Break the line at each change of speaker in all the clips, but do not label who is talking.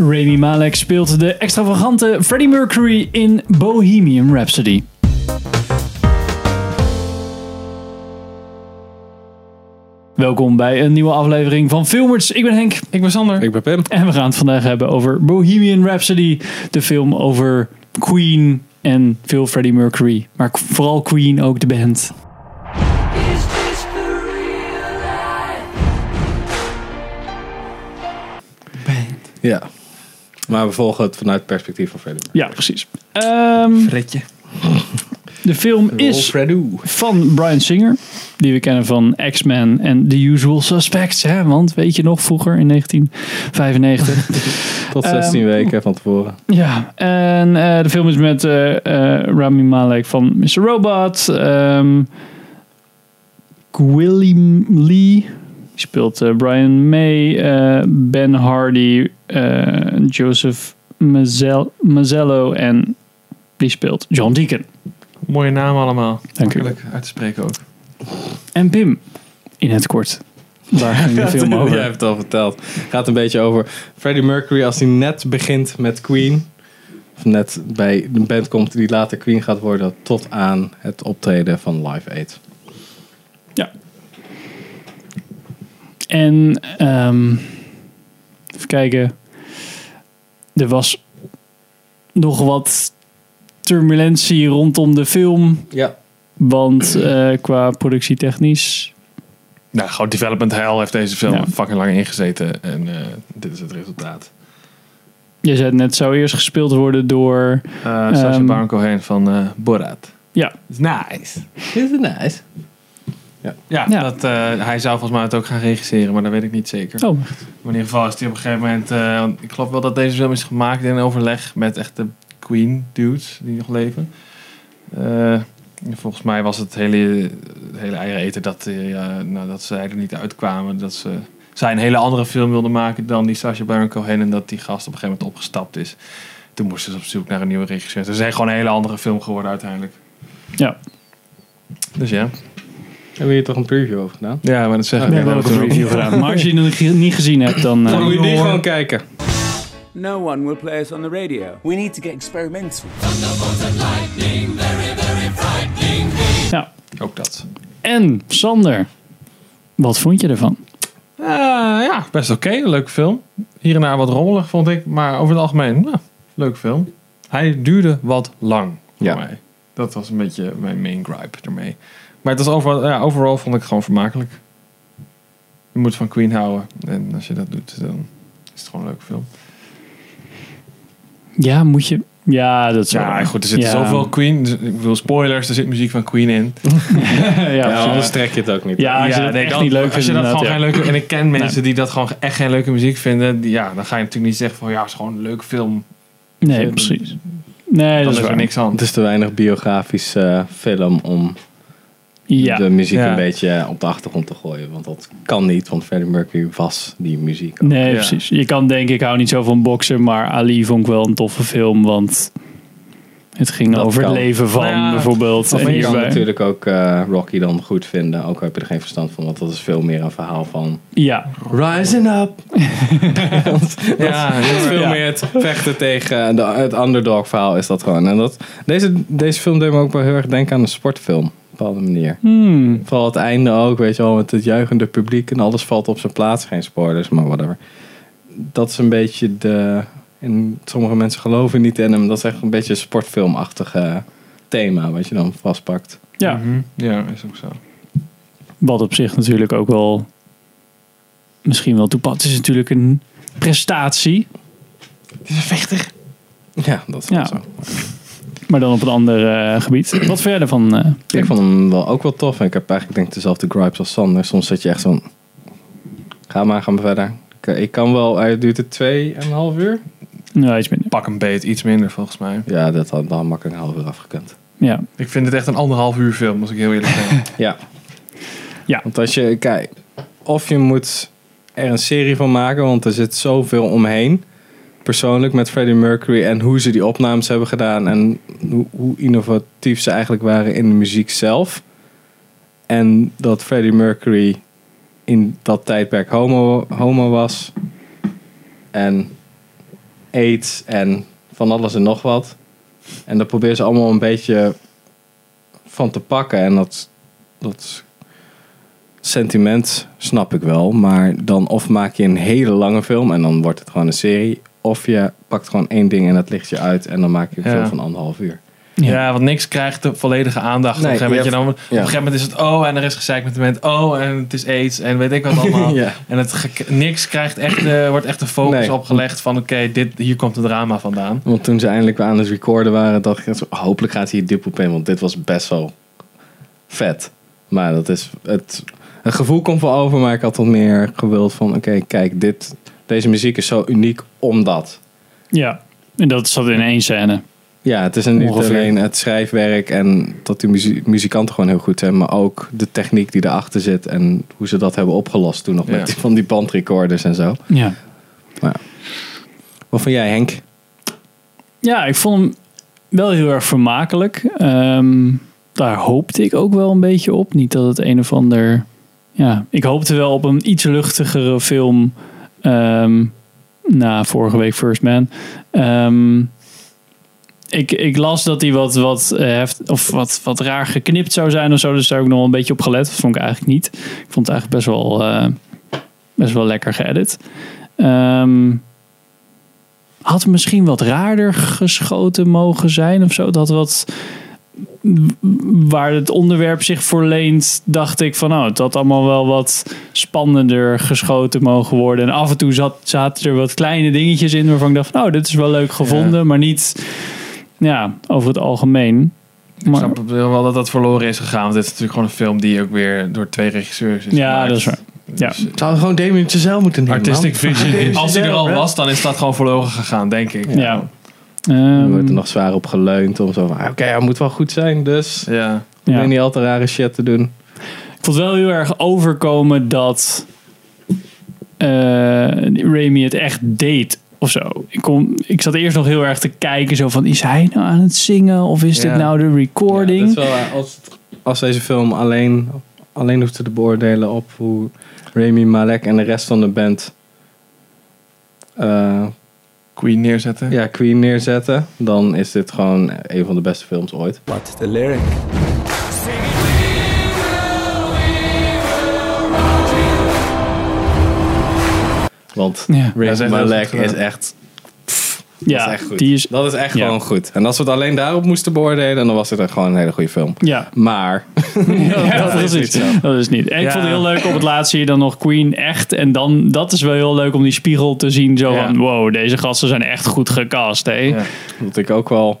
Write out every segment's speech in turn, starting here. Rami Malek speelt de extravagante Freddie Mercury in Bohemian Rhapsody. Welkom bij een nieuwe aflevering van Filmers. Ik ben Henk
Ik ben Sander.
Ik ben Pim.
en we gaan het vandaag hebben over Bohemian Rhapsody. De film over Queen en veel Freddie Mercury. Maar k- vooral Queen, ook de band.
Is this the real life?
Ja. Maar we volgen het vanuit het perspectief van Freddie.
Ja, precies. Ehm,
Fredje.
de film is
Freddie.
van Brian Singer. Die we kennen van X-Men en The Usual Suspects. Hè? Want weet je nog, vroeger in 1995.
Tot
Ehm,
16 weken van tevoren.
ja, en eh, de film is met eh, eh, Rami Malek van Mr. Robot. ehm Gwilym Lee die speelt eh, Brian May. eh, ben Hardy, eh, Joseph Mazzel- Mazzello en die speelt John Deacon.
Mooie naam allemaal.
Dank u.
Makkelijk uit te spreken ook.
En Pim, in het kort. Waar ging de film over?
Jij hebt het al verteld. gaat een beetje over Freddie Mercury als hij net begint met Queen. Of net bij de band komt die later Queen gaat worden. Tot aan het optreden van Live Aid.
En ehm, even kijken. Er was nog wat turbulentie rondom de film.
Ja.
Want eh, qua productietechnisch.
Nou, gewoon development hell heeft deze film
Ja.
fucking lang ingezeten. En eh, dit is het resultaat.
Je zei het net, zou eerst gespeeld worden door.
Eh Sacha
Ehm.
Baron Cohen van eh, Borat.
Ja.
Is Nice.
Is het nice?
Ja,
Ja.
Dat, eh, hij zou volgens mij het ook gaan regisseren, maar dat weet ik niet zeker.
Oh,
Maar in ieder geval is hij op een gegeven moment... eh, want ik geloof wel dat deze film is gemaakt in overleg met echt de Queen dudes die nog leven. Eh, volgens mij was het hele, het hele eieren eten dat, eh, ja, nou, dat zij er niet uitkwamen. Dat ze, zij een hele andere film wilden maken dan die Sacha Baron Cohen. En dat die gast op een gegeven moment opgestapt is. Toen moesten ze op zoek naar een nieuwe regisseur. Het is echt gewoon een hele andere film geworden uiteindelijk.
Ja.
Dus ja.
Hebben we hier toch een preview over gedaan?
Ja, maar dat zeg ik.
we hebben ook een review gedaan. Maar als je die nog ge- niet gezien hebt, dan. eh,
Dan moet je die gewoon kijken.
No one will play us on the radio.
We need to get experimental.
ja.
Ook dat.
En Sander, wat vond je ervan?
Eh, ja, best oké. Leuke film. Hier en daar wat rommelig, vond ik. Maar over het algemeen, nou, leuke film. Hij duurde wat lang voor
Ja.
mij. Dat was een beetje mijn main gripe ermee. Maar het was overal, ja, overal vond ik het gewoon vermakelijk. Je moet van Queen houden. En als je dat doet, dan is het gewoon een leuke film.
Ja, moet je. Ja, dat zou.
Ja, goed. Er zitten
Ja.
zoveel Queen. dus- Ik bedoel, spoilers. Er zit muziek van Queen in.
ja,
Ja,
precies.
anders trek je het ook niet.
Ja, als je dat Ah, echt
dan-
niet leuk
als
vindt,
je dat
inderdaad, ja.
gewoon geen leuke en ik ken mensen die dat gewoon echt geen leuke muziek vinden, die- ja, dan ga je natuurlijk niet zeggen van ja, het is gewoon een leuke film.
Nee, precies. Nee,
Dan
dat
is
is
er
waar.
niks
Het
aan.
is te weinig biografische eh, film om
Ja,
de muziek
Ja.
een beetje op de achtergrond te gooien. Want dat kan niet, want Freddie Mercury was die muziek. ook.
nee,
Ja.
precies. Je kan denken, ik hou niet zo van boksen, maar Ali vond ik wel een toffe film, want het ging
Dat
over
kan.
het leven van
Nou ja,
bijvoorbeeld.
Maar je kan
hierbij-
natuurlijk ook eh, Rocky dan goed vinden, ook al heb je er geen verstand van, want dat is veel meer een verhaal van
Ja,
rising up.
Ja,
Dat is veel
Ja.
meer het vechten tegen de, het underdog verhaal is dat gewoon. En dat, deze, deze film deed me ook wel heel erg denken aan een sportfilm, op een bepaalde manier.
Hmm.
Vooral het einde ook, weet je wel, met het juichende publiek en alles valt op zijn plaats. Geen spoilers, maar whatever. Dat is een beetje de... En sommige mensen geloven niet in hem. Dat is echt een beetje een sportfilmachtige thema, wat je dan vastpakt.
ja.
Mhm. Ja, is ook zo.
wat op zich natuurlijk ook wel misschien wel toepast. Het is natuurlijk een prestatie,
Ja, dat is wel
Ja.
zo.
maar dan op een ander eh, gebied. Wat verder van... eh,
Ik vond hem wel ook wel tof. En ik heb eigenlijk denk ik dezelfde gripes als Sander. Soms zit je echt zo'n... Ga maar, ga maar verder. Ik, eh, ik kan wel... Hij duurt het twee en een half uur?
nou, iets minder.
Pak een beet, iets minder volgens mij.
Ja, dat had dan makkelijk een half uur afgekund.
Ja,
Ik vind het echt een anderhalf uur film, als ik heel eerlijk ben.
Ja.
Ja.
Want als je... Kijk, of je moet er een serie van maken, want er zit zoveel omheen. Persoonlijk met Freddie Mercury en hoe ze die opnames hebben gedaan en hoe, hoe innovatief ze eigenlijk waren in de muziek zelf. En dat Freddie Mercury in dat tijdperk homo, homo was. En aids en van alles en nog wat. En daar proberen ze allemaal een beetje van te pakken. En dat, dat sentiment snap ik wel. Maar dan of maak je een hele lange film en dan wordt het gewoon een serie. Of je pakt gewoon één ding en dat ligt je uit. En dan maak je een
Ja.
film van anderhalf uur.
Ja, want niks krijgt de volledige aandacht.
Nee,
op, een gegeven moment,
je
je dan, op een gegeven moment is het oh en er is gezeik met de mensen. Oh en het is aids en weet ik wat allemaal.
ja.
En het ge- niks krijgt echt, eh, wordt echt de focus
Nee.
opgelegd van oké, dit hier komt het drama vandaan.
Want toen ze eindelijk weer aan het recorden waren, dacht ik, hopelijk gaat hier dip op in, want dit was best wel vet. Maar dat is, het, het gevoel komt wel over, maar ik had wat meer gewild van, oké, kijk, dit, deze muziek is zo uniek omdat.
Ja, en dat zat in één scène.
Ja, het is niet
Ongeveer.
alleen het schrijfwerk en dat die muzie- muzikanten gewoon heel goed zijn, maar ook de techniek die erachter zit en hoe ze dat hebben opgelost toen nog
Ja.
met die, van die bandrecorders en zo.
Ja.
Wat vond jij, Henk?
Ja, ik vond hem wel heel erg vermakelijk. Ehm, daar hoopte ik ook wel een beetje op. Niet dat het een of ander. Ja, ik hoopte wel op een iets luchtigere film. ehm, na vorige week First Man. Ehm, ik, ik las dat hij wat, wat, eh, heft, of wat, wat raar geknipt zou zijn of zo. Dus daar heb ik nog wel een beetje op gelet. Dat vond ik eigenlijk niet. Ik vond het eigenlijk best wel, eh, best wel lekker geëdit. Ehm had misschien wat raarder geschoten mogen zijn of zo. Dat wat waar het onderwerp zich voor leent, dacht ik van nou, het had allemaal wel wat spannender geschoten mogen worden. En af en toe zat, zaten er wat kleine dingetjes in waarvan ik dacht van nou, dit is wel leuk gevonden, maar niet ja, over het algemeen.
Ik
Maar-
snap wel dat dat verloren is gegaan. Want dit is natuurlijk gewoon een film die ook weer door twee regisseurs is
Ja,
gemaakt.
dat is waar. Ja.
Dus, eh,
Zou gewoon Damien zelf moeten nemen,
Artistic Vision. Als hij er al
hè?
was, dan is dat gewoon verloren gegaan, denk ik.
Ja.
Er
Ehm,
wordt er nog zwaar op geleund om zo van, "Ah, oké, hij moet wel goed zijn, dus...
Ja.
ja.
niet al te rare shit te doen.
Ik vond het wel heel erg overkomen dat eh Raimi het echt deed of zo. Ik, kon, ik zat eerst nog heel erg te kijken zo van, is hij nou aan het zingen of is
Ja.
dit nou de recording?
dat is wel, eh, als, als deze film alleen, alleen hoeft te beoordelen op hoe Rami Malek en de rest van de band eh,
Queen neerzetten.
ja, Queen neerzetten, dan is dit gewoon een van de beste films ooit.
What's the lyric?
Want
Ja.
Ja, dat is
Rami
echt heel
Malek
goed gedaan.
is echt,
ja,
dat is echt goed.
die is...
dat is echt
Ja.
gewoon goed. En als we het alleen daarop moesten beoordelen, dan was het echt gewoon een hele goede film.
Ja,
Maar
Ja, dat, is
niet
niet. Dat is niet. En ik
Ja.
vond het heel leuk op het laatst zie je dan nog Queen echt. En dan, dat is wel heel leuk om die spiegel te zien. Zo
Ja.
van, wow, deze gasten zijn echt goed gecast, hè?
Ja.
Dat ik ook wel.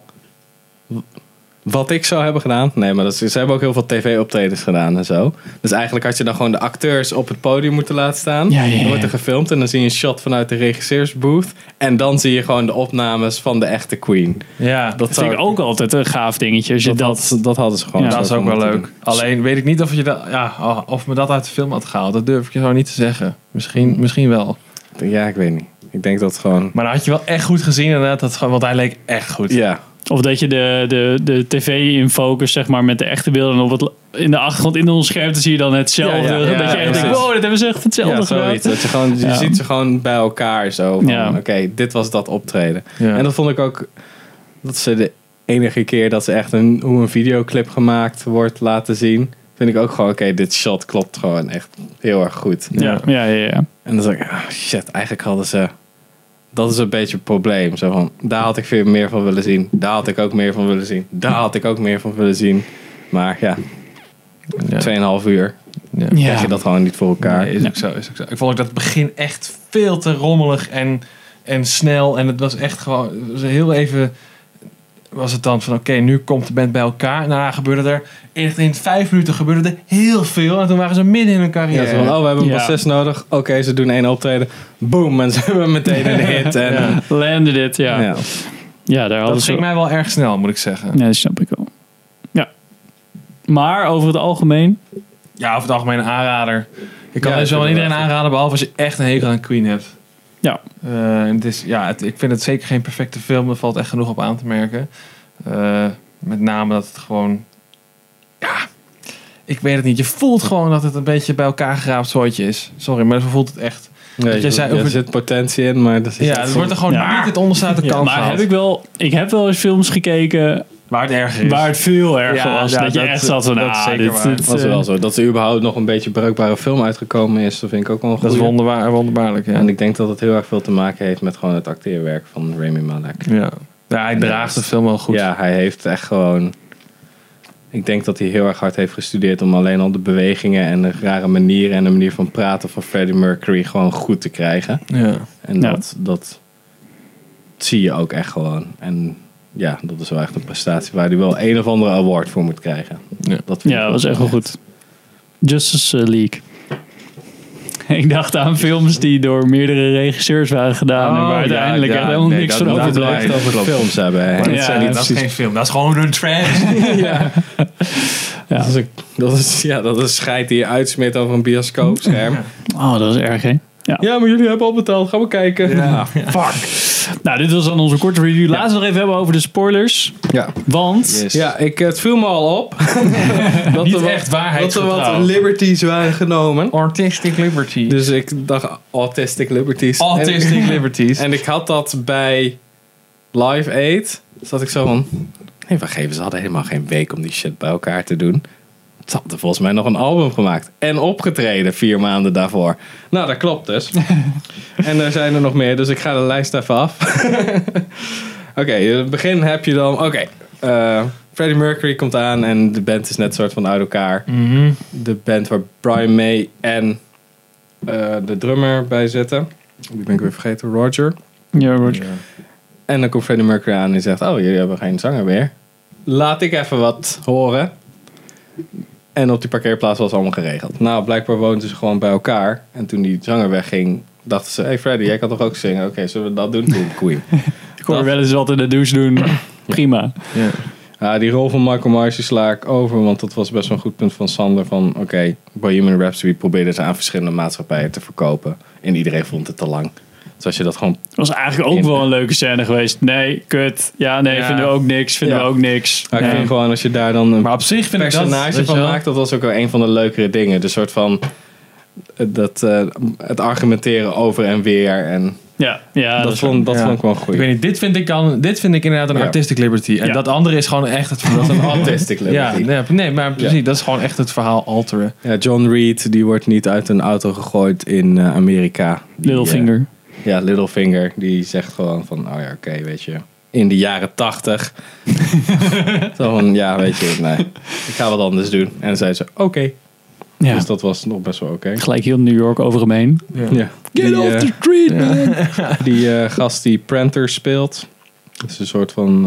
Wat ik zou hebben gedaan. Nee, maar dat is, ze hebben ook heel veel tv-optredens gedaan en zo. Dus eigenlijk had je dan gewoon de acteurs op het podium moeten laten staan.
Ja, ja, ja.
Dan wordt er gefilmd en dan zie je een shot vanuit de regisseursbooth. En dan zie je gewoon de opnames van de echte Queen.
Ja, dat,
Dat vind ik ook altijd een gaaf dingetje. Als je
Dat,
dat,
had- dat hadden ze gewoon.
Ja,
zo
is ook wel
moeten
leuk.
doen.
Alleen weet ik niet of, je dat, ja, of me dat uit de film had gehaald. Dat durf ik je zo niet te zeggen. Misschien, misschien wel.
Ja, ik weet niet. Ik denk dat gewoon.
Maar dan had je wel echt goed gezien inderdaad. Dat, gewoon- want hij leek echt goed.
Ja,
Of dat je de, de, de tv in focus, zeg maar, met de echte beelden. En op het, la- in de achtergrond in ons scherm, dan zie je dan hetzelfde.
Ja, ja, ja,
dat je echt
precies.
denkt, wow, dat hebben ze echt hetzelfde
ja
gedaan.
zoiets. Dat je gewoon, je
Ja.
ziet ze gewoon bij elkaar zo. van,
Ja.
Oké, dit was dat optreden.
Ja.
En dat vond ik ook. Dat ze de enige keer dat ze echt een, hoe een videoclip gemaakt wordt laten zien. Vind ik ook gewoon, oké, dit shot klopt gewoon echt heel erg goed.
Ja, ja, ja. ja.
En dan dacht ik, ah, shit, eigenlijk hadden ze. Dat is een beetje het probleem. Zo van, daar had ik veel meer van willen zien. Daar had ik ook meer van willen zien. Daar had ik ook meer van willen zien. Maar ja,
Ja.
2,5 uur
Ja.
krijg je dat gewoon niet voor elkaar.
Nee, is ook zo, is ook zo. Ik vond ook dat het begin echt veel te rommelig en, en snel. En het was echt gewoon, het was heel even was het dan van oké, nu komt de band bij elkaar. En daarna gebeurde er, echt in vijf minuten gebeurde er heel veel. En toen waren ze midden in hun
Ja,
carrière.
zo van, oh, we hebben een
Ja.
proces nodig. Oké, ze doen één optreden. Boom, en ze hebben meteen een hit. En, ja.
Landed dit, ja. Ja, daar hadden
dat
ze...
ging mij wel erg snel, moet ik zeggen.
Ja, dat snap ik wel. Ja. Maar over het algemeen...
Ja, over het algemeen een aanrader. Ik kan
Ja,
dus wel aan
inderdaad.
iedereen aanraden, behalve als je echt een hekel aan Queen hebt.
Ja.
Eh, en het is, ja, het- ik vind het zeker geen perfecte film. Er valt echt genoeg op aan te merken. Eh, met name dat het gewoon... Ja, ik weet het niet. Je voelt gewoon dat het een beetje bij elkaar geraapt zootje is. Sorry, maar zo voelt het echt.
Nee,
jij zei
er
over-
zit potentie in, maar dat is
Ja, het wordt er gewoon
Ja.
niet het onderste uit de
Ja,
kant
maar
gehaald.
heb ik wel. Ik heb wel eens films gekeken
Waar het erg is.
waar het veel erger
Ja,
was.
ja,
dat je
dat-
echt zat van,
dat is
ah,
zeker
dit,
waar.
dit,
was
eh,
wel zo. Dat er überhaupt nog een beetje bruikbare film uitgekomen is, dat vind ik ook wel een
dat is
goeie.
wonderbaar, wonderbaarlijk, ja.
En ik denk dat het heel erg veel te maken heeft met gewoon het acteerwerk van Rami Malek.
ja. Ja, hij draagt de film wel goed.
Ja, hij heeft echt gewoon... Ik denk dat hij heel erg hard heeft gestudeerd om alleen al de bewegingen en de rare manieren en de manier van praten van Freddie Mercury gewoon goed te krijgen.
Ja.
En
Ja.
dat, dat zie je ook echt gewoon. En ja, dat is wel echt een prestatie waar hij wel een of andere award voor moet krijgen.
Ja.
dat vind
Ja,
ik
dat was echt wel goed. Justice eh, League. Ik dacht aan films die door meerdere regisseurs waren gedaan. en waar
Oh, ja,
uiteindelijk
ja,
echt helemaal
nee,
niks van
dat- dat-
Laten we
overblijft.
het echt over
Klopt.
films hebben. hè.
Maar
Ja,
dat, zijn niet- dat is
precies.
geen film, dat is gewoon een trash.
Dat is, een- dat is, ja, dat is scheid die je uitsmeert over een bioscoopscherm.
Oh, dat is erg, hè?
Ja, maar jullie hebben al betaald. Gaan we kijken. Ja.
Fuck. Nou, dit was dan onze korte review. Laten we nog even hebben over de spoilers.
Ja.
Want
Ja, ik, eh, het viel me al op. dat
Niet
er wat-
echt waarheid.
Dat er wat liberties waren genomen.
Artistic Liberty.
Dus ik dacht autistic liberties. En
Autistic
ik,
Liberties.
en ik had dat bij Live Aid. Zat ik zo van... Nee, wacht even. Ze hadden helemaal geen week om die shit bij elkaar te doen. Ze hadden volgens mij nog een album gemaakt. En opgetreden vier maanden daarvoor. Nou, dat klopt dus. en er zijn er nog meer. Dus ik ga de lijst even af. Oké, in het begin heb je dan... Oké, eh, Freddie Mercury komt aan. En de band is net soort van uit elkaar
Mhm.
de band waar Brian May en eh, de drummer bij zitten. Die ben ik weer vergeten, Roger.
Ja, Roger.
En dan komt Freddie Mercury aan en die zegt: Oh, jullie hebben geen zanger meer. Laat ik even wat horen. En op die parkeerplaats was allemaal geregeld. Nou, blijkbaar woonden ze gewoon bij elkaar. En toen die zanger wegging, dachten ze: Hey Freddie, jij kan toch ook zingen? Oké, zullen we dat doen? Boom, Queen.
Ik hoor wel eens wat in de douche doen. Prima.
Ja.
Ja, die rol van Michael Myers die sla ik over, want dat was best wel een goed punt van Sander. Van oké, Bohemian Rhapsody probeerde ze aan verschillende maatschappijen te verkopen. En iedereen vond het te lang. Dus als je dat gewoon...
was eigenlijk ook wel een leuke scène geweest. Nee, kut. Ja, nee,
Ja.
vinden we ook niks. Vinden
Ja.
we ook niks.
Ja, ik
Nee.
vind gewoon als je daar dan een
Maar op zich vind ik dat...
personage
weet je
van
wel.
maakt, dat was ook wel een van de leukere dingen. De soort van... eh, Dat, eh, het argumenteren over en weer. En
Ja, ja
dat,
dat is waar.
vond, dat
Ja.
vond ik wel
Ik
goed.
weet niet, dit vind ik, dan, dit vind ik inderdaad een
Ja.
artistic liberty. En
Ja.
dat andere is gewoon echt het verhaal.
Autistic
ja,
liberty.
nee, nee, maar precies, dat is gewoon echt het verhaal alteren.
Ja, John Reed, die wordt niet uit een auto gegooid in eh, Amerika. Die, eh,
Littlefinger.
Ja, Littlefinger, die zegt gewoon van, oh ja, oké, weet je. In de jaren tachtig. Zo van, ja, weet je, nee, ik ga wat anders doen. En dan zei ze, oké.
Ja.
Dus dat was nog best wel oké.
Gelijk heel New York over hem heen.
Ja.
Get
Die,
off
eh,
the street, man!
die eh, gast die Prenter speelt. Dat is een soort van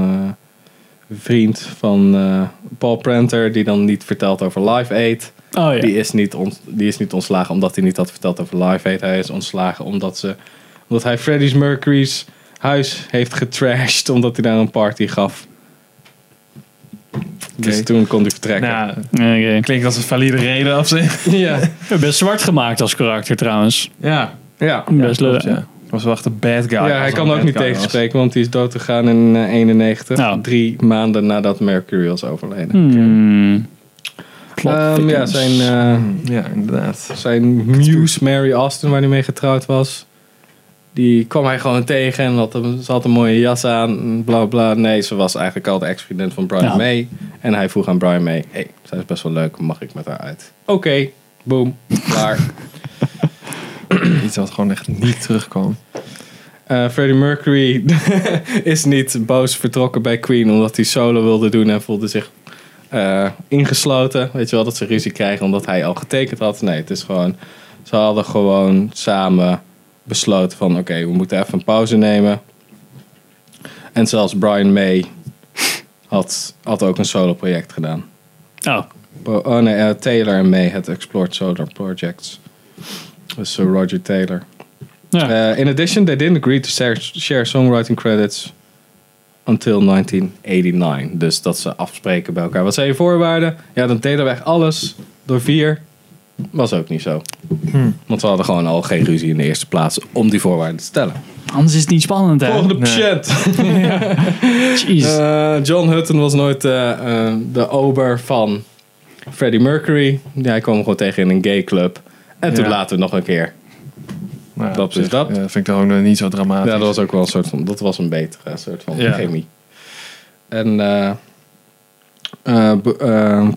eh, vriend van eh, Paul Prenter, die dan niet vertelt over Live Aid.
Oh ja.
Die, is niet ont- die is niet ontslagen omdat hij niet had verteld over Live Aid. Hij is ontslagen omdat, ze, omdat hij Freddie's Mercury's huis heeft getrashed. Omdat hij daar een party gaf. Dus
Oké.
toen kon hij vertrekken.
Nou,
Oké.
klinkt als een valide reden op zich.
ja.
Best zwart gemaakt als karakter trouwens.
Ja,
Ja.
Best leuk.
klopt, ja. Was wel echt een bad guy.
Ja,
Als
hij
een
kan ook
bad
niet
guy was.
tegenspreken, want hij is dood gegaan in eh, 91.
Nou.
Drie maanden nadat Mercury was overleden.
Hmm. Plot
Ehm, ja,
thickens.
zijn, eh,
Ja, inderdaad.
zijn muse Mary Austin, waar hij mee getrouwd was. Die kwam hij gewoon tegen en had een, ze had een mooie jas aan. en Bla bla. Nee, ze was eigenlijk al de ex-vriendin van Brian
Ja.
May. En hij vroeg aan Brian May: hey, zij is best wel leuk, mag ik met haar uit? Oké, boom, klaar.
Iets wat gewoon echt niet terugkwam.
Eh, Freddie Mercury is niet boos vertrokken bij Queen omdat hij solo wilde doen en voelde zich eh, ingesloten. Weet je wel, dat ze ruzie krijgen omdat hij al getekend had. Nee, het is gewoon, ze hadden gewoon samen besloten van oké, we moeten even een pauze nemen. En zelfs Brian May had, had ook een solo project gedaan.
Oh,
Bo- Oh nee, eh, Taylor en May, het Explored Solar Projects. Dus eh, Roger Taylor.
ja.
Uh, in addition, they didn't agree to share, share songwriting credits until 1989. Dus dat ze afspreken bij elkaar. Wat zijn je voorwaarden? Ja, dan deden we echt alles door vier. Was ook niet zo. Want we hadden gewoon al geen ruzie in de eerste plaats om die voorwaarden te stellen.
Anders is het niet spannend, hè?
Volgende
nee.
patiënt.
Jeez.
Eh, John Hutton was nooit eh, eh, de ober van Freddie Mercury. Ja, hij kwam hem gewoon tegen in een gay club. En toen
Ja.
later nog een keer.
Nou,
Dat
op zich,
is dat.
ja, vind ik dan ook nog niet zo dramatisch.
Ja, dat was ook wel een soort van. Dat was een betere soort van
Ja.
chemie. En eh, eh, b- eh,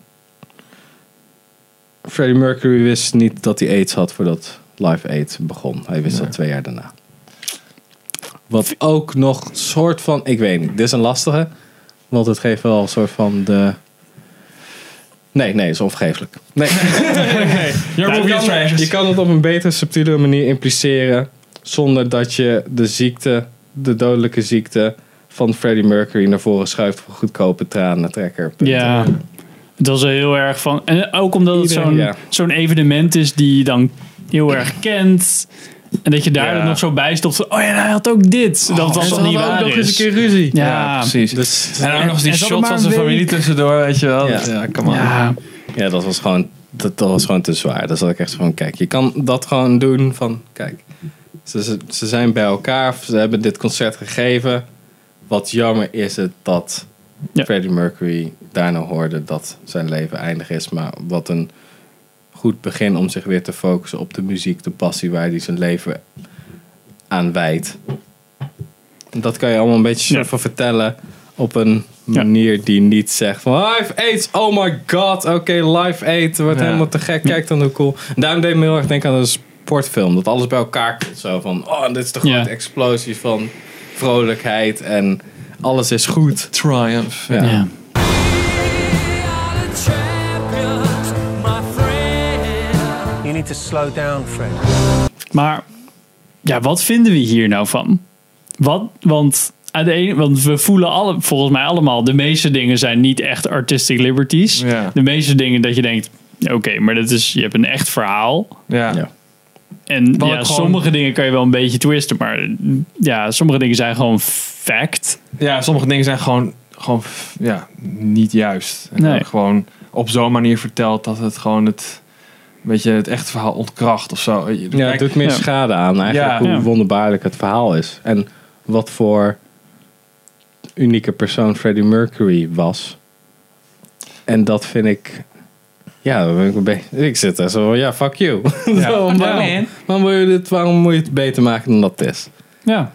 Freddie Mercury wist niet dat hij AIDS had voordat Live Aid begon. Hij wist dat twee jaar daarna. Wat ook nog een soort van. Ik weet niet, dit is een lastige. Want het geeft wel een soort van de. Nee, nee, is onvergeeflijk. Nee.
Your
je,
movie is
kan,
trash.
je kan het op een betere, subtiele manier impliceren. Zonder dat je de ziekte, de dodelijke ziekte van Freddie Mercury naar voren schuift voor goedkope tranentrekker.
Ja. Het was wel heel erg van. En ook omdat het
Iedereen,
zo'n
ja.
zo'n evenement is die je dan heel erg kent. En dat je daar
Ja.
dan nog zo bij stopt. van, Oh ja, hij had ook dit. Dat dat dan niet waar dus.
nog eens een
is.
keer ruzie.
Ja,
precies.
Dus,
en ook nog eens die
en ze hadden
shot
maar
van
een
zijn
week.
familie tussendoor, weet je wel.
Ja.
Ja, kom maar.
Ja,
ja, dat was gewoon, dat, dat was gewoon te zwaar. Dat zat ik echt van, kijk, je kan dat gewoon doen van, kijk, ze, ze, ze zijn bij elkaar, ze hebben dit concert gegeven. Wat jammer is het dat
Ja.
Freddie Mercury daarna hoorde dat zijn leven eindig is. Maar wat een goed begin om zich weer te focussen op de muziek, de passie waar hij zijn leven aan wijdt. Dat kan je allemaal een beetje soort
Ja.
van vertellen op een
Ja.
manier die niet zegt van Live Aids, oh my god, oké, Live Aid, wordt
Ja.
helemaal te gek, kijk dan hoe cool. Daarom deed me heel erg denken aan een sportfilm, dat alles bij elkaar komt. Zo van, oh, dit is de grote
Ja.
explosie van vrolijkheid en alles is goed.
Triumph.
Ja.
ja.
You need to slow down, Fred.
Maar ja, wat vinden we hier nou van? Wat, want, aan de ene, want we voelen alle, volgens mij allemaal, de meeste dingen zijn niet echt artistic liberties.
Ja.
De meeste dingen dat je denkt, oké, maar dat is, je hebt een echt verhaal.
Ja.
Ja.
En
Wat
ja,
ik gewoon-
sommige dingen kan je wel een beetje twisten, maar ja, sommige dingen zijn gewoon fact.
Ja, sommige dingen zijn gewoon, gewoon f- ja, niet juist. En
Nee.
dan gewoon op zo'n manier verteld dat het gewoon het, een beetje het echte verhaal ontkracht of zo. Weet je, dus
Ja, het
kijk,
doet meer
Ja.
schade aan eigenlijk
Ja.
hoe
Ja.
wonderbaarlijk het verhaal is. En wat voor unieke persoon Freddie Mercury was. En dat vind ik... Ja, daar ben ik, een beetje- ik zit daar zo van, ja, fuck you. Zo, waarom, waarom, wil je dit, waarom moet je het beter maken dan dat het is?
Ja.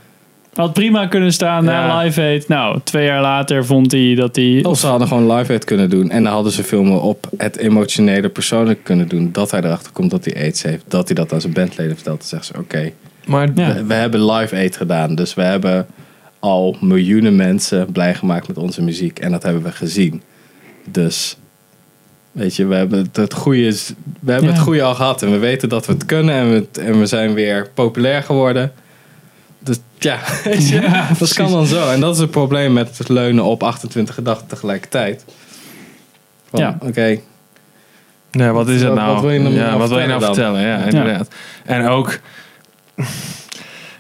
Had prima kunnen staan na
Ja.
Live Aid. Nou, twee jaar later vond hij dat hij...
Of ze hadden gewoon live het kunnen doen. En dan hadden ze filmen op het emotionele persoonlijk kunnen doen. Dat hij erachter komt dat hij aids heeft. Dat hij dat aan zijn bandleden vertelt. Dan zeggen ze, oké,
maar
Ja.
We, we hebben live aid gedaan, dus we hebben al miljoenen mensen blij gemaakt met onze muziek. En dat hebben we gezien. Dus, weet je, we hebben het, het goede, is- we hebben
Ja.
het goede al gehad. En we weten dat we het kunnen en we, het- en we zijn weer populair geworden. Dus ja, weet je, dat kan dan zo. En dat is het probleem met het leunen op 28 gedachten tegelijkertijd. Van,
Ja.
Oké,
Nee, wat is het
Wat-
nou?
wat wil je hem
ja,
nou
wat wil je nou
vertellen
vertellen? Ja, inderdaad. En ook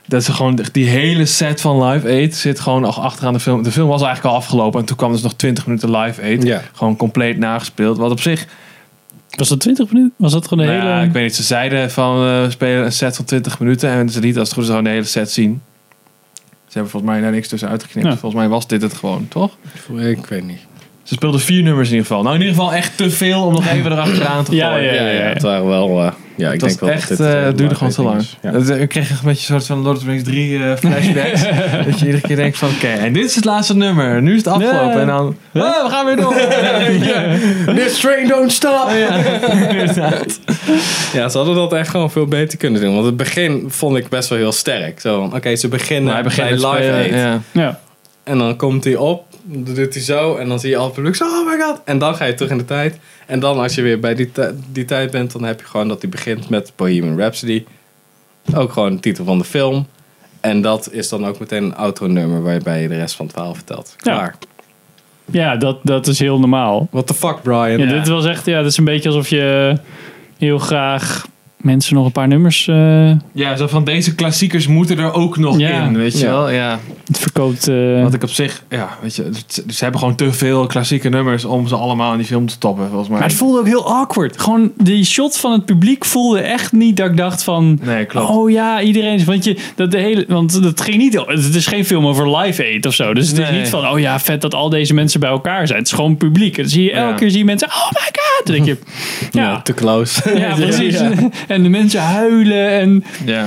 dat ze gewoon die hele set van Live Aid zit gewoon nog achteraan de film. De film was eigenlijk al afgelopen en toen kwam dus nog 20 minuten Live Aid.
Ja.
Gewoon compleet nagespeeld. Wat op zich,
Was dat 20 minuten? Was dat gewoon een
nou,
hele...
ik weet niet, ze zeiden van eh, we spelen een set van 20 minuten en ze lieten als het goed is gewoon de hele set zien. Ze hebben volgens mij daar niks tussen uitgeknipt.
Ja.
Volgens mij was dit het gewoon, toch?
ik weet niet.
Ze speelden vier nummers in ieder geval. Nou, in ieder geval echt te veel om nog even erachteraan te
Ja,
gooien.
ja,
Ja, ja, het waren wel... eh, ja, ik
Het
denk wel
was echt,
dat
het
dit, eh,
duurde
live
gewoon te
aid
lang.
is. Ja.
Dat, eh, Ik kreeg echt een beetje een soort van Lord of the Rings 3 eh, flashbacks. dat je iedere keer denkt van, oké, en dit is het laatste nummer. Nu is het afgelopen.
Nee.
En dan, ah, we gaan weer door.
This train don't stop!
Inderdaad.
Ja, ze hadden dat echt gewoon veel beter kunnen doen. Want het begin vond ik best wel heel sterk. Zo van, oké, ze beginnen
Maar Nou, hij begint
bij
met
Live
spelen,
Aid.
ja.
Ja.
En dan komt hij op, dan doet hij zo. En dan zie je al het publiek zo, oh my god. En dan ga je terug in de tijd. En dan als je weer bij die, ti- die tijd bent, dan heb je gewoon dat hij begint met Bohemian Rhapsody. Ook gewoon de titel van de film. En dat is dan ook meteen een outro-nummer waarbij je de rest van het verhaal vertelt.
Ja.
Klaar.
Ja, dat, dat is heel normaal.
What the fuck, Brian?
Ja, dit was echt, ja, dat is een beetje alsof je heel graag mensen nog een paar nummers eh,
ja, zo van deze klassiekers moeten er ook nog
Ja.
in, weet je
Ja.
wel. Ja.
verkoopt. eh,
Wat ik op zich, ja, weet je, het- ze hebben gewoon te veel klassieke nummers om ze allemaal in die film te toppen, volgens mij.
maar het voelde ook heel awkward. Gewoon die shot van het publiek voelde echt niet dat ik dacht van.
Nee, klopt.
Oh ja, iedereen. is- Want, je, dat de hele, want dat ging niet. Het is geen film over live aid of zo. Dus het is
Nee.
niet van. Oh ja, vet dat al deze mensen bij elkaar zijn. Het is gewoon publiek. En dan zie je elke
Ja.
keer zie je mensen. Oh my god. Dan denk je.
Ja,
Ja,
te close.
ja, precies. En En de mensen huilen. En,
Ja.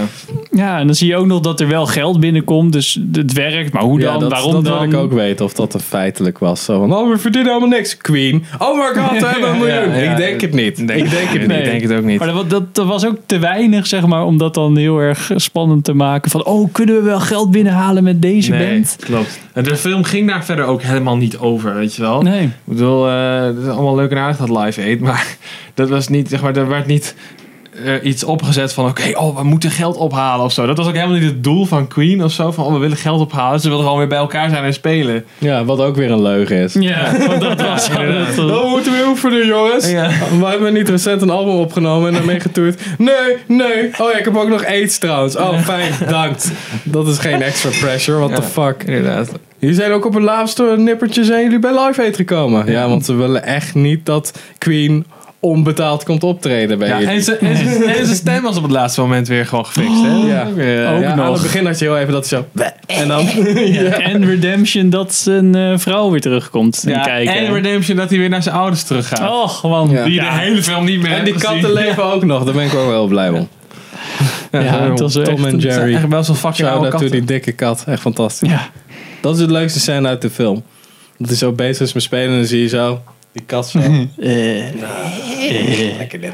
ja, en dan zie je ook nog dat er wel geld binnenkomt. Dus het werkt. Maar hoe dan?
Ja, dat,
Waarom
dat
dan?
wil ik ook weten of dat er feitelijk was. Zo van, oh, we verdienen helemaal niks, Queen. Oh my god, we hebben een miljoen.
Ja, ja.
ik denk het niet. ik denk het
Ik
niet.
Nee.
denk het ook niet.
Maar dat, dat, dat was ook te weinig, zeg maar, om dat dan heel erg spannend te maken. Van, oh, kunnen we wel geld binnenhalen met deze band?
klopt. En de film ging daar verder ook helemaal niet over, weet je wel.
Nee.
Ik bedoel, eh, het is allemaal leuk en aardig dat Live Aid, maar dat was niet, zeg maar, er werd niet eh, iets opgezet van, oké, oh, we moeten geld ophalen of zo. Dat was ook helemaal niet het doel van Queen of zo, van, oh, we willen geld ophalen. Ze wilden gewoon weer bij elkaar zijn en spelen.
Ja, wat ook weer een leugen is.
Ja, want dat was
Oh, we moeten weer oefenen, jongens.
Ja.
We hebben niet recent een album opgenomen en daarmee getoerd. Nee, nee. Oh ja, ik heb ook nog aids trouwens. Oh, fijn, bedankt. Dat is geen extra pressure, what the fuck.
Inderdaad.
Jullie zijn ook op het laatste nippertje zijn jullie bij Live Aid gekomen. Ja, want ze willen echt niet dat Queen onbetaald komt optreden bij
Ja,
jullie.
en, ze, en, ze- en zijn stem was op het laatste moment weer gewoon gefixt, hè?
Ja.
Ook weer,
Ja,
eh, ja.
Aan
nog.
het begin had je heel even dat zo... En dan...
En Redemption dat zijn eh, vrouw weer terugkomt. en
Ja,
kijken.
en Redemption dat hij weer naar zijn ouders teruggaat.
Och, man.
Ja.
Die
Ja.
de hele film niet meer
En die
hebben gezien.
katten leven ook nog. Daar ben ik ook wel heel blij om.
Ja, het was echt...
Tom en
Het zijn
Jerry.
echt wel zo'n fucking oude
Shout out to
katten.
die dikke kat. Echt fantastisch.
Ja.
Dat is het leukste scène uit de film. Dat hij zo bezig is met spelen en dan zie je zo... Die kat zo... Eh. Lekker dit.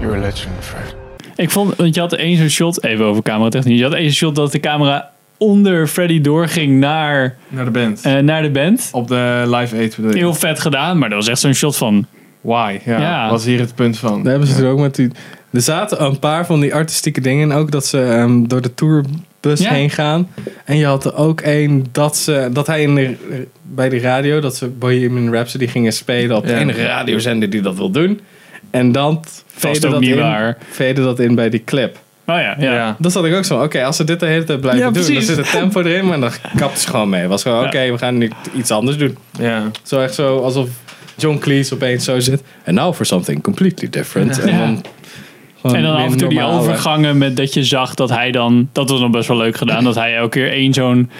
You're a legend, Fred.
Ik vond, want je had één zo'n shot, even over cameratechnisch. Je had één zo'n shot dat de camera onder Freddy doorging naar,
Naar de band.
eh, naar de band.
Op de Live Aid bedoel je?
Heel vet gedaan, maar dat was echt zo'n shot van...
Why? Ja,
Ja.
was hier het punt van.
Daar hebben ze er ook met die... Er zaten een paar van die artistieke dingen in. Ook dat ze ehm, door de tourbus
Ja.
heen gaan. En je had er ook één dat, ze, dat hij in de, bij de radio... dat ze Bohemian Rhapsody gingen spelen op de
Ja.
enige radiozender die dat wil doen. En dan veden
ook
dat,
niet
in-
waar.
veden dat in bij die clip.
Oh ja, ja.
Ja.
Dat zat ik ook zo. Oké, als ze dit de hele tijd blijven
Ja,
doen... dan
precies.
zit het tempo erin, maar dan kapt ze gewoon mee. was gewoon,
Ja.
oké, we gaan nu iets anders doen.
Ja.
Zo echt zo alsof John Cleese opeens zo zit. And now for something completely different. En
Ja.
dan, gewoon
En dan
weer
af en toe die
normale.
overgangen met dat je zag dat hij dan... Dat was nog best wel leuk gedaan. Dat hij elke keer één zo'n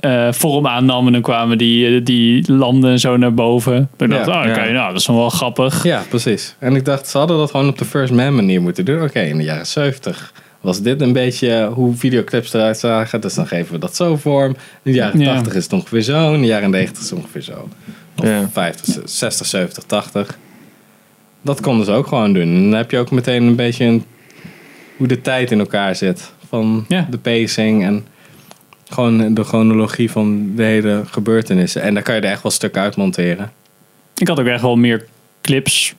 eh, vorm aannam. En dan kwamen die, eh, die landen en zo naar boven. Toen dacht ik,
Ja,
oh, oké,
ja.
nou, dat is dan wel grappig.
Ja, precies. En ik dacht, ze hadden dat gewoon op de First Man manier moeten doen. Oké, in de jaren 70 was dit een beetje hoe videoclips eruit zagen. Dus dan geven we dat zo vorm. In de jaren
Ja.
80 is het ongeveer zo. In de jaren 90 is het ongeveer zo. Of
Ja.
50, 60, 70, 80. Dat konden ze ook gewoon doen. En dan heb je ook meteen een beetje een, hoe de tijd in elkaar zit. Van
Ja.
de pacing en gewoon de chronologie van de hele gebeurtenissen. En daar kan je er echt wel stuk uit monteren.
Ik had ook echt wel meer clips.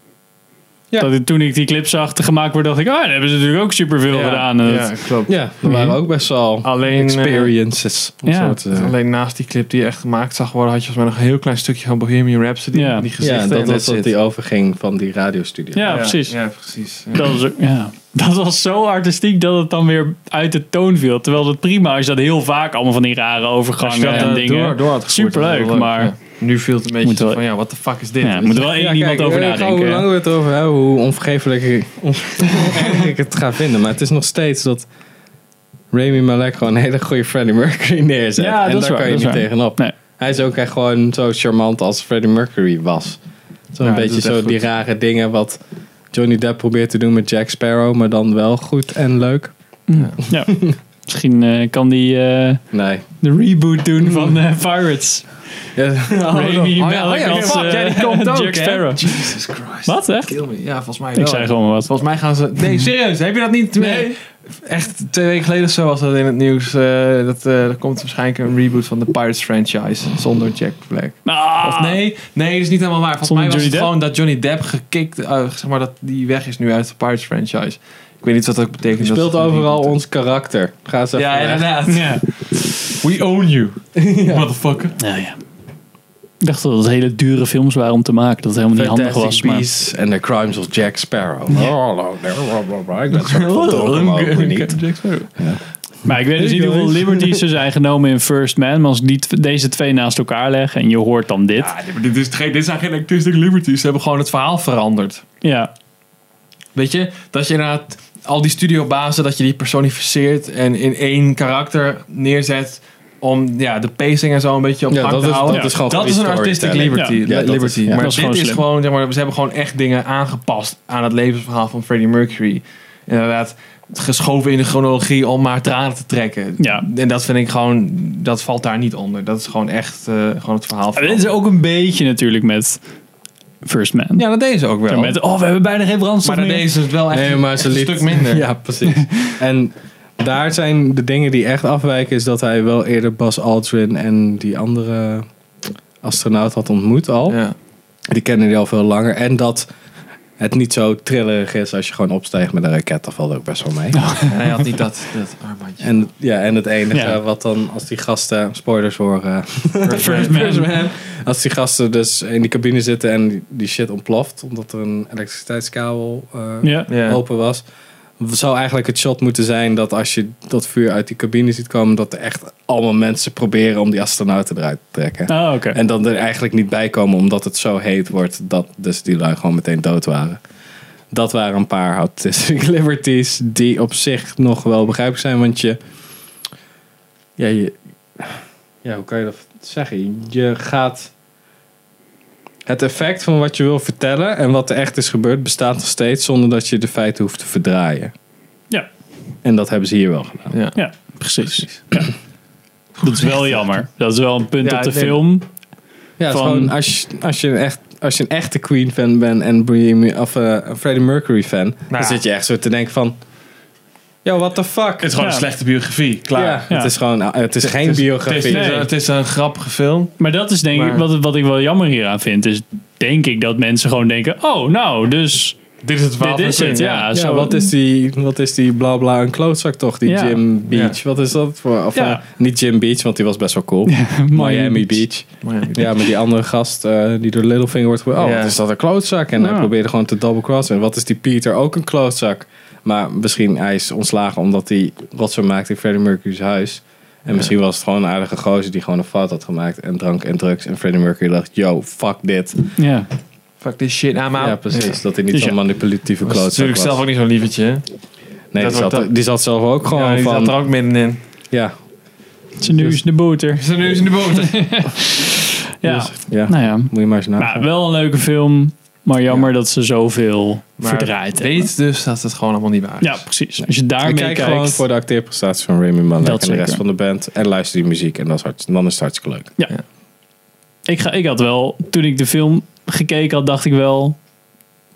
Ja.
Dat ik- toen ik die clips zag te gemaakt worden, dacht ik, ah, daar hebben ze natuurlijk ook superveel
Ja,
gedaan. En
ja,
dat-
klopt.
Ja, er waren ook best wel
Alleen, eh,
experiences. om
Ja.
zo te zeggen.
Alleen naast die clip die echt gemaakt zag worden, had je volgens mij nog een heel klein stukje van Bohemian Rhapsody.
Ja.
Die
ja,
gezichten
dat
en
was dat
zit.
die overging van die radiostudio.
ja, precies.
Ja, precies. Ja.
Dat, was ook- ja. dat was zo artistiek dat het dan weer uit de toon viel. Terwijl dat prima is, dat heel vaak allemaal van die rare
Als je
overgangen
dat,
en
eh,
dingen.
Door, door had gevoerd,
Superleuk,
dat was wel
maar-
ja. Nu viel het een beetje
Moet wel-
van, ja, what the fuck is dit?
Ja, moet er wel één iemand over
eh,
eh, Hoe lang
nadenken.
we het over hebben, hoe onvergeeflijk ik, onvergeeflijk ik het ga vinden. Maar het is nog steeds dat Rami Malek gewoon een hele goede Freddie Mercury neerzet.
Ja,
en
dat is
daar
waar,
kan je
dat
niet
is waar.
tegenop.
Nee.
Hij is ook echt gewoon zo charmant als Freddie Mercury was. Zo'n
Ja,
beetje
doet echt
zo die
goed.
rare dingen wat Johnny Depp probeert te doen met Jack Sparrow, maar dan wel goed en leuk.
Ja. Misschien eh, kan die eh,
Nee.
de reboot doen van eh, Pirates.
Ja,
Rami
Mm. Oh ja, oh
Malek
ja,
als
fuck,
eh,
ja, die komt ook,
Jack
hè?
Sparrow.
Jesus Christ.
Wat, echt?
Kill me. Ja, volgens mij wel.
Ik zei gewoon wat.
Volgens mij gaan ze... Nee, serieus, heb je dat niet?
Nee.
Echt twee weken geleden of zo was dat in het nieuws. eh, dat, eh, er komt waarschijnlijk een reboot van de Pirates franchise zonder Jack Black.
Ah.
Of nee, nee, dat is niet helemaal waar. Volgens
Zonder
mij
Johnny
was het
Depp?
gewoon dat Johnny Depp gekikt, eh, zeg maar dat die weg is nu uit de Pirates franchise. Ik weet niet wat dat ook betekent.
Je
dat
speelt
ze het
overal
reboot
ons karakter. Ga eens
doen.
even
Ja,
weg.
inderdaad.
Ja.
We own you, motherfucker.
Nou ja. Ik dacht dat het hele dure films waren om te maken. Dat het helemaal niet handig was. Maar...
Beasts and the Crimes of Jack Sparrow. Oh, no, ik ben zo verdomme ook niet.
Jack Sparrow.
Maar ik weet dus
Hey,
niet hoeveel
guys.
liberties er zijn genomen in First Man. Maar als ik die, tw- deze twee naast elkaar leg en je hoort dan dit. Ja.
Ja, dit- dit, is geen, dit zijn geen artistic liberties. Ze hebben gewoon het verhaal veranderd. Weet je, dat je inderdaad al die studiobazen, dat je die personificeert en in één karakter neerzet. om ja, de pacing en zo een beetje op
Ja,
gang
dat
te
is-
houden.
dat is gewoon
dat
goede
is een artistic
storytelling.
liberty.
Ja,
ja, dat is-
liberty.
ja.
Maar
Dat is
dit
gewoon
is
slim.
gewoon, zeg maar, ze hebben gewoon echt dingen aangepast aan het levensverhaal van Freddie Mercury. Inderdaad, geschoven in de chronologie om maar tranen te trekken.
Ja.
En dat vind ik gewoon, dat valt daar niet onder. Dat is gewoon echt eh, gewoon het verhaal van.
Maar dit is ook een beetje natuurlijk met First Man.
Ja, dat deden ze ook wel.
En Met, oh, we hebben bijna geen brandstof
maar dat
meer.
deden ze het wel echt,
Nee, maar ze
echt een
liet-
stuk minder.
Ja, precies. en daar zijn de dingen die echt afwijken, is dat hij wel eerder Bas Aldrin en die andere astronaut had ontmoet al.
Ja.
Die kennen die al veel langer. En dat het niet zo trillerig is als je gewoon opstijgt met een raket. Dat valt ook best wel mee.
En hij had niet dat, dat armbandje.
En, ja, en het enige
Ja.
wat dan als die gasten, spoilers voor eh,
First Man.
First Man, als die gasten dus in die cabine zitten en die, die shit ontploft omdat er een elektriciteitskabel eh,
Ja.
Ja.
open was, zou eigenlijk het shot moeten zijn dat als je dat vuur uit die cabine ziet komen, dat er echt allemaal mensen proberen om die astronauten eruit te trekken.
Ah, oké.
En dan er eigenlijk niet bij komen omdat het zo heet wordt dat dus die lui gewoon meteen dood waren. Dat waren een paar autistic liberties die op zich nog wel begrijpelijk zijn, want je... Ja, je, ja hoe kan je dat zeggen? Je gaat... Het effect van wat je wil vertellen en wat er echt is gebeurd bestaat nog steeds zonder dat je de feiten hoeft te verdraaien.
Ja.
En dat hebben ze hier wel gedaan.
Ja.
Ja, precies. Ja. Dat is wel jammer. Dat is wel een punt
Ja,
op de
ik denk-
film.
Ja, het is
Van-
gewoon als je, als, je een echt, als je een echte Queen fan bent en Bohemian- of, eh, een Freddie Mercury fan, dan
ja.
zit je echt zo te denken van, yo, what the fuck?
Het is gewoon
Ja.
een slechte biografie, klaar.
Ja,
Ja.
Het is gewoon, nou, het is geen
het is- Het is,
biografie.
het is- het is een grappige film.
Maar dat is denk ik
Maar-
wat, wat ik wel jammer hieraan vind. Is denk ik dat mensen gewoon denken: oh, nou, dus
Dit is het verhaal
dit
van
is
Queen,
het. Ja,
Ja,
zo,
wat is die, wat is die bla bla een klootzak toch, die
Ja.
Jim Beach? Wat is dat voor? Of,
Ja.
eh, niet Jim Beach, want die was best wel cool. Miami Beach.
Maar ja,
Ja, maar die andere gast eh, die door Littlefinger wordt... Oh,
Ja. Nou.
wat is dat een klootzak? En
Ja.
hij probeerde gewoon te double-crossen. En wat is die Peter ook een klootzak? Maar misschien hij is ontslagen omdat hij rotzooi maakte in Freddie Mercury's huis. En misschien was het gewoon een aardige gozer die gewoon een fout had gemaakt. En drank en drugs. En Freddie Mercury dacht, yo, fuck dit.
Ja.
Fuck this shit, Nou, I'm out.
ja, precies. Dat hij niet
Dus
zo'n
ja.
manipulatieve
Dat is
klootzak
natuurlijk
was.
zelf ook niet zo'n lievertje. hè?
Oh,
nee,
dat
die zat,
wordt dat-
die zat zelf ook gewoon
ja, die
van...
zat er ook middenin.
Ja,
Zijn neus in de boter.
Zijn neus in de boter.
Ja.
ja.
Nou ja.
Moet je maar eens nagaan.
Maar wel een leuke film. Maar jammer dat ze zoveel
Maar
verdraaid hebben.
Weet dus dat het gewoon allemaal niet waar is.
Ja, precies. Als je
Ik
daarmee
kijk
kijkt.
gewoon voor de acteerprestaties van Remy Malek en
Dat
de rest
zeker.
van de band. En luister die muziek en dat is hart, dan is het hartstikke leuk.
Ik, ga, ik had wel, toen ik de film gekeken had, dacht ik wel.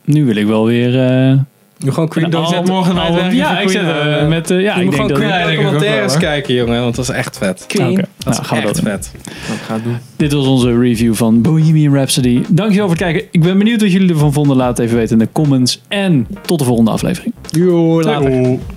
Nu wil ik wel weer. eh
Nu gewoon Queen
een
Dozen.
album-
morgen naar het
album-
werk
Ja,
voor
ik zet
Queen,
eh,
eh,
met. eh, ja,
Je
ik denk
moet gewoon
dat.
Queen-
Ah,
Ja,
Queen
ik denk ook
documentaires
wel, hoor.
kijken, jongen. Want dat is echt vet.
oké.
Dat is
Nou, gaan we
echt
dat doen.
vet.
Dat gaat doen.
Dit was onze review van Bohemian Rhapsody. Dankjewel voor het kijken. Ik ben benieuwd wat jullie ervan vonden. Laat het even weten in de comments. En tot de volgende aflevering.
Yo,
later.
later.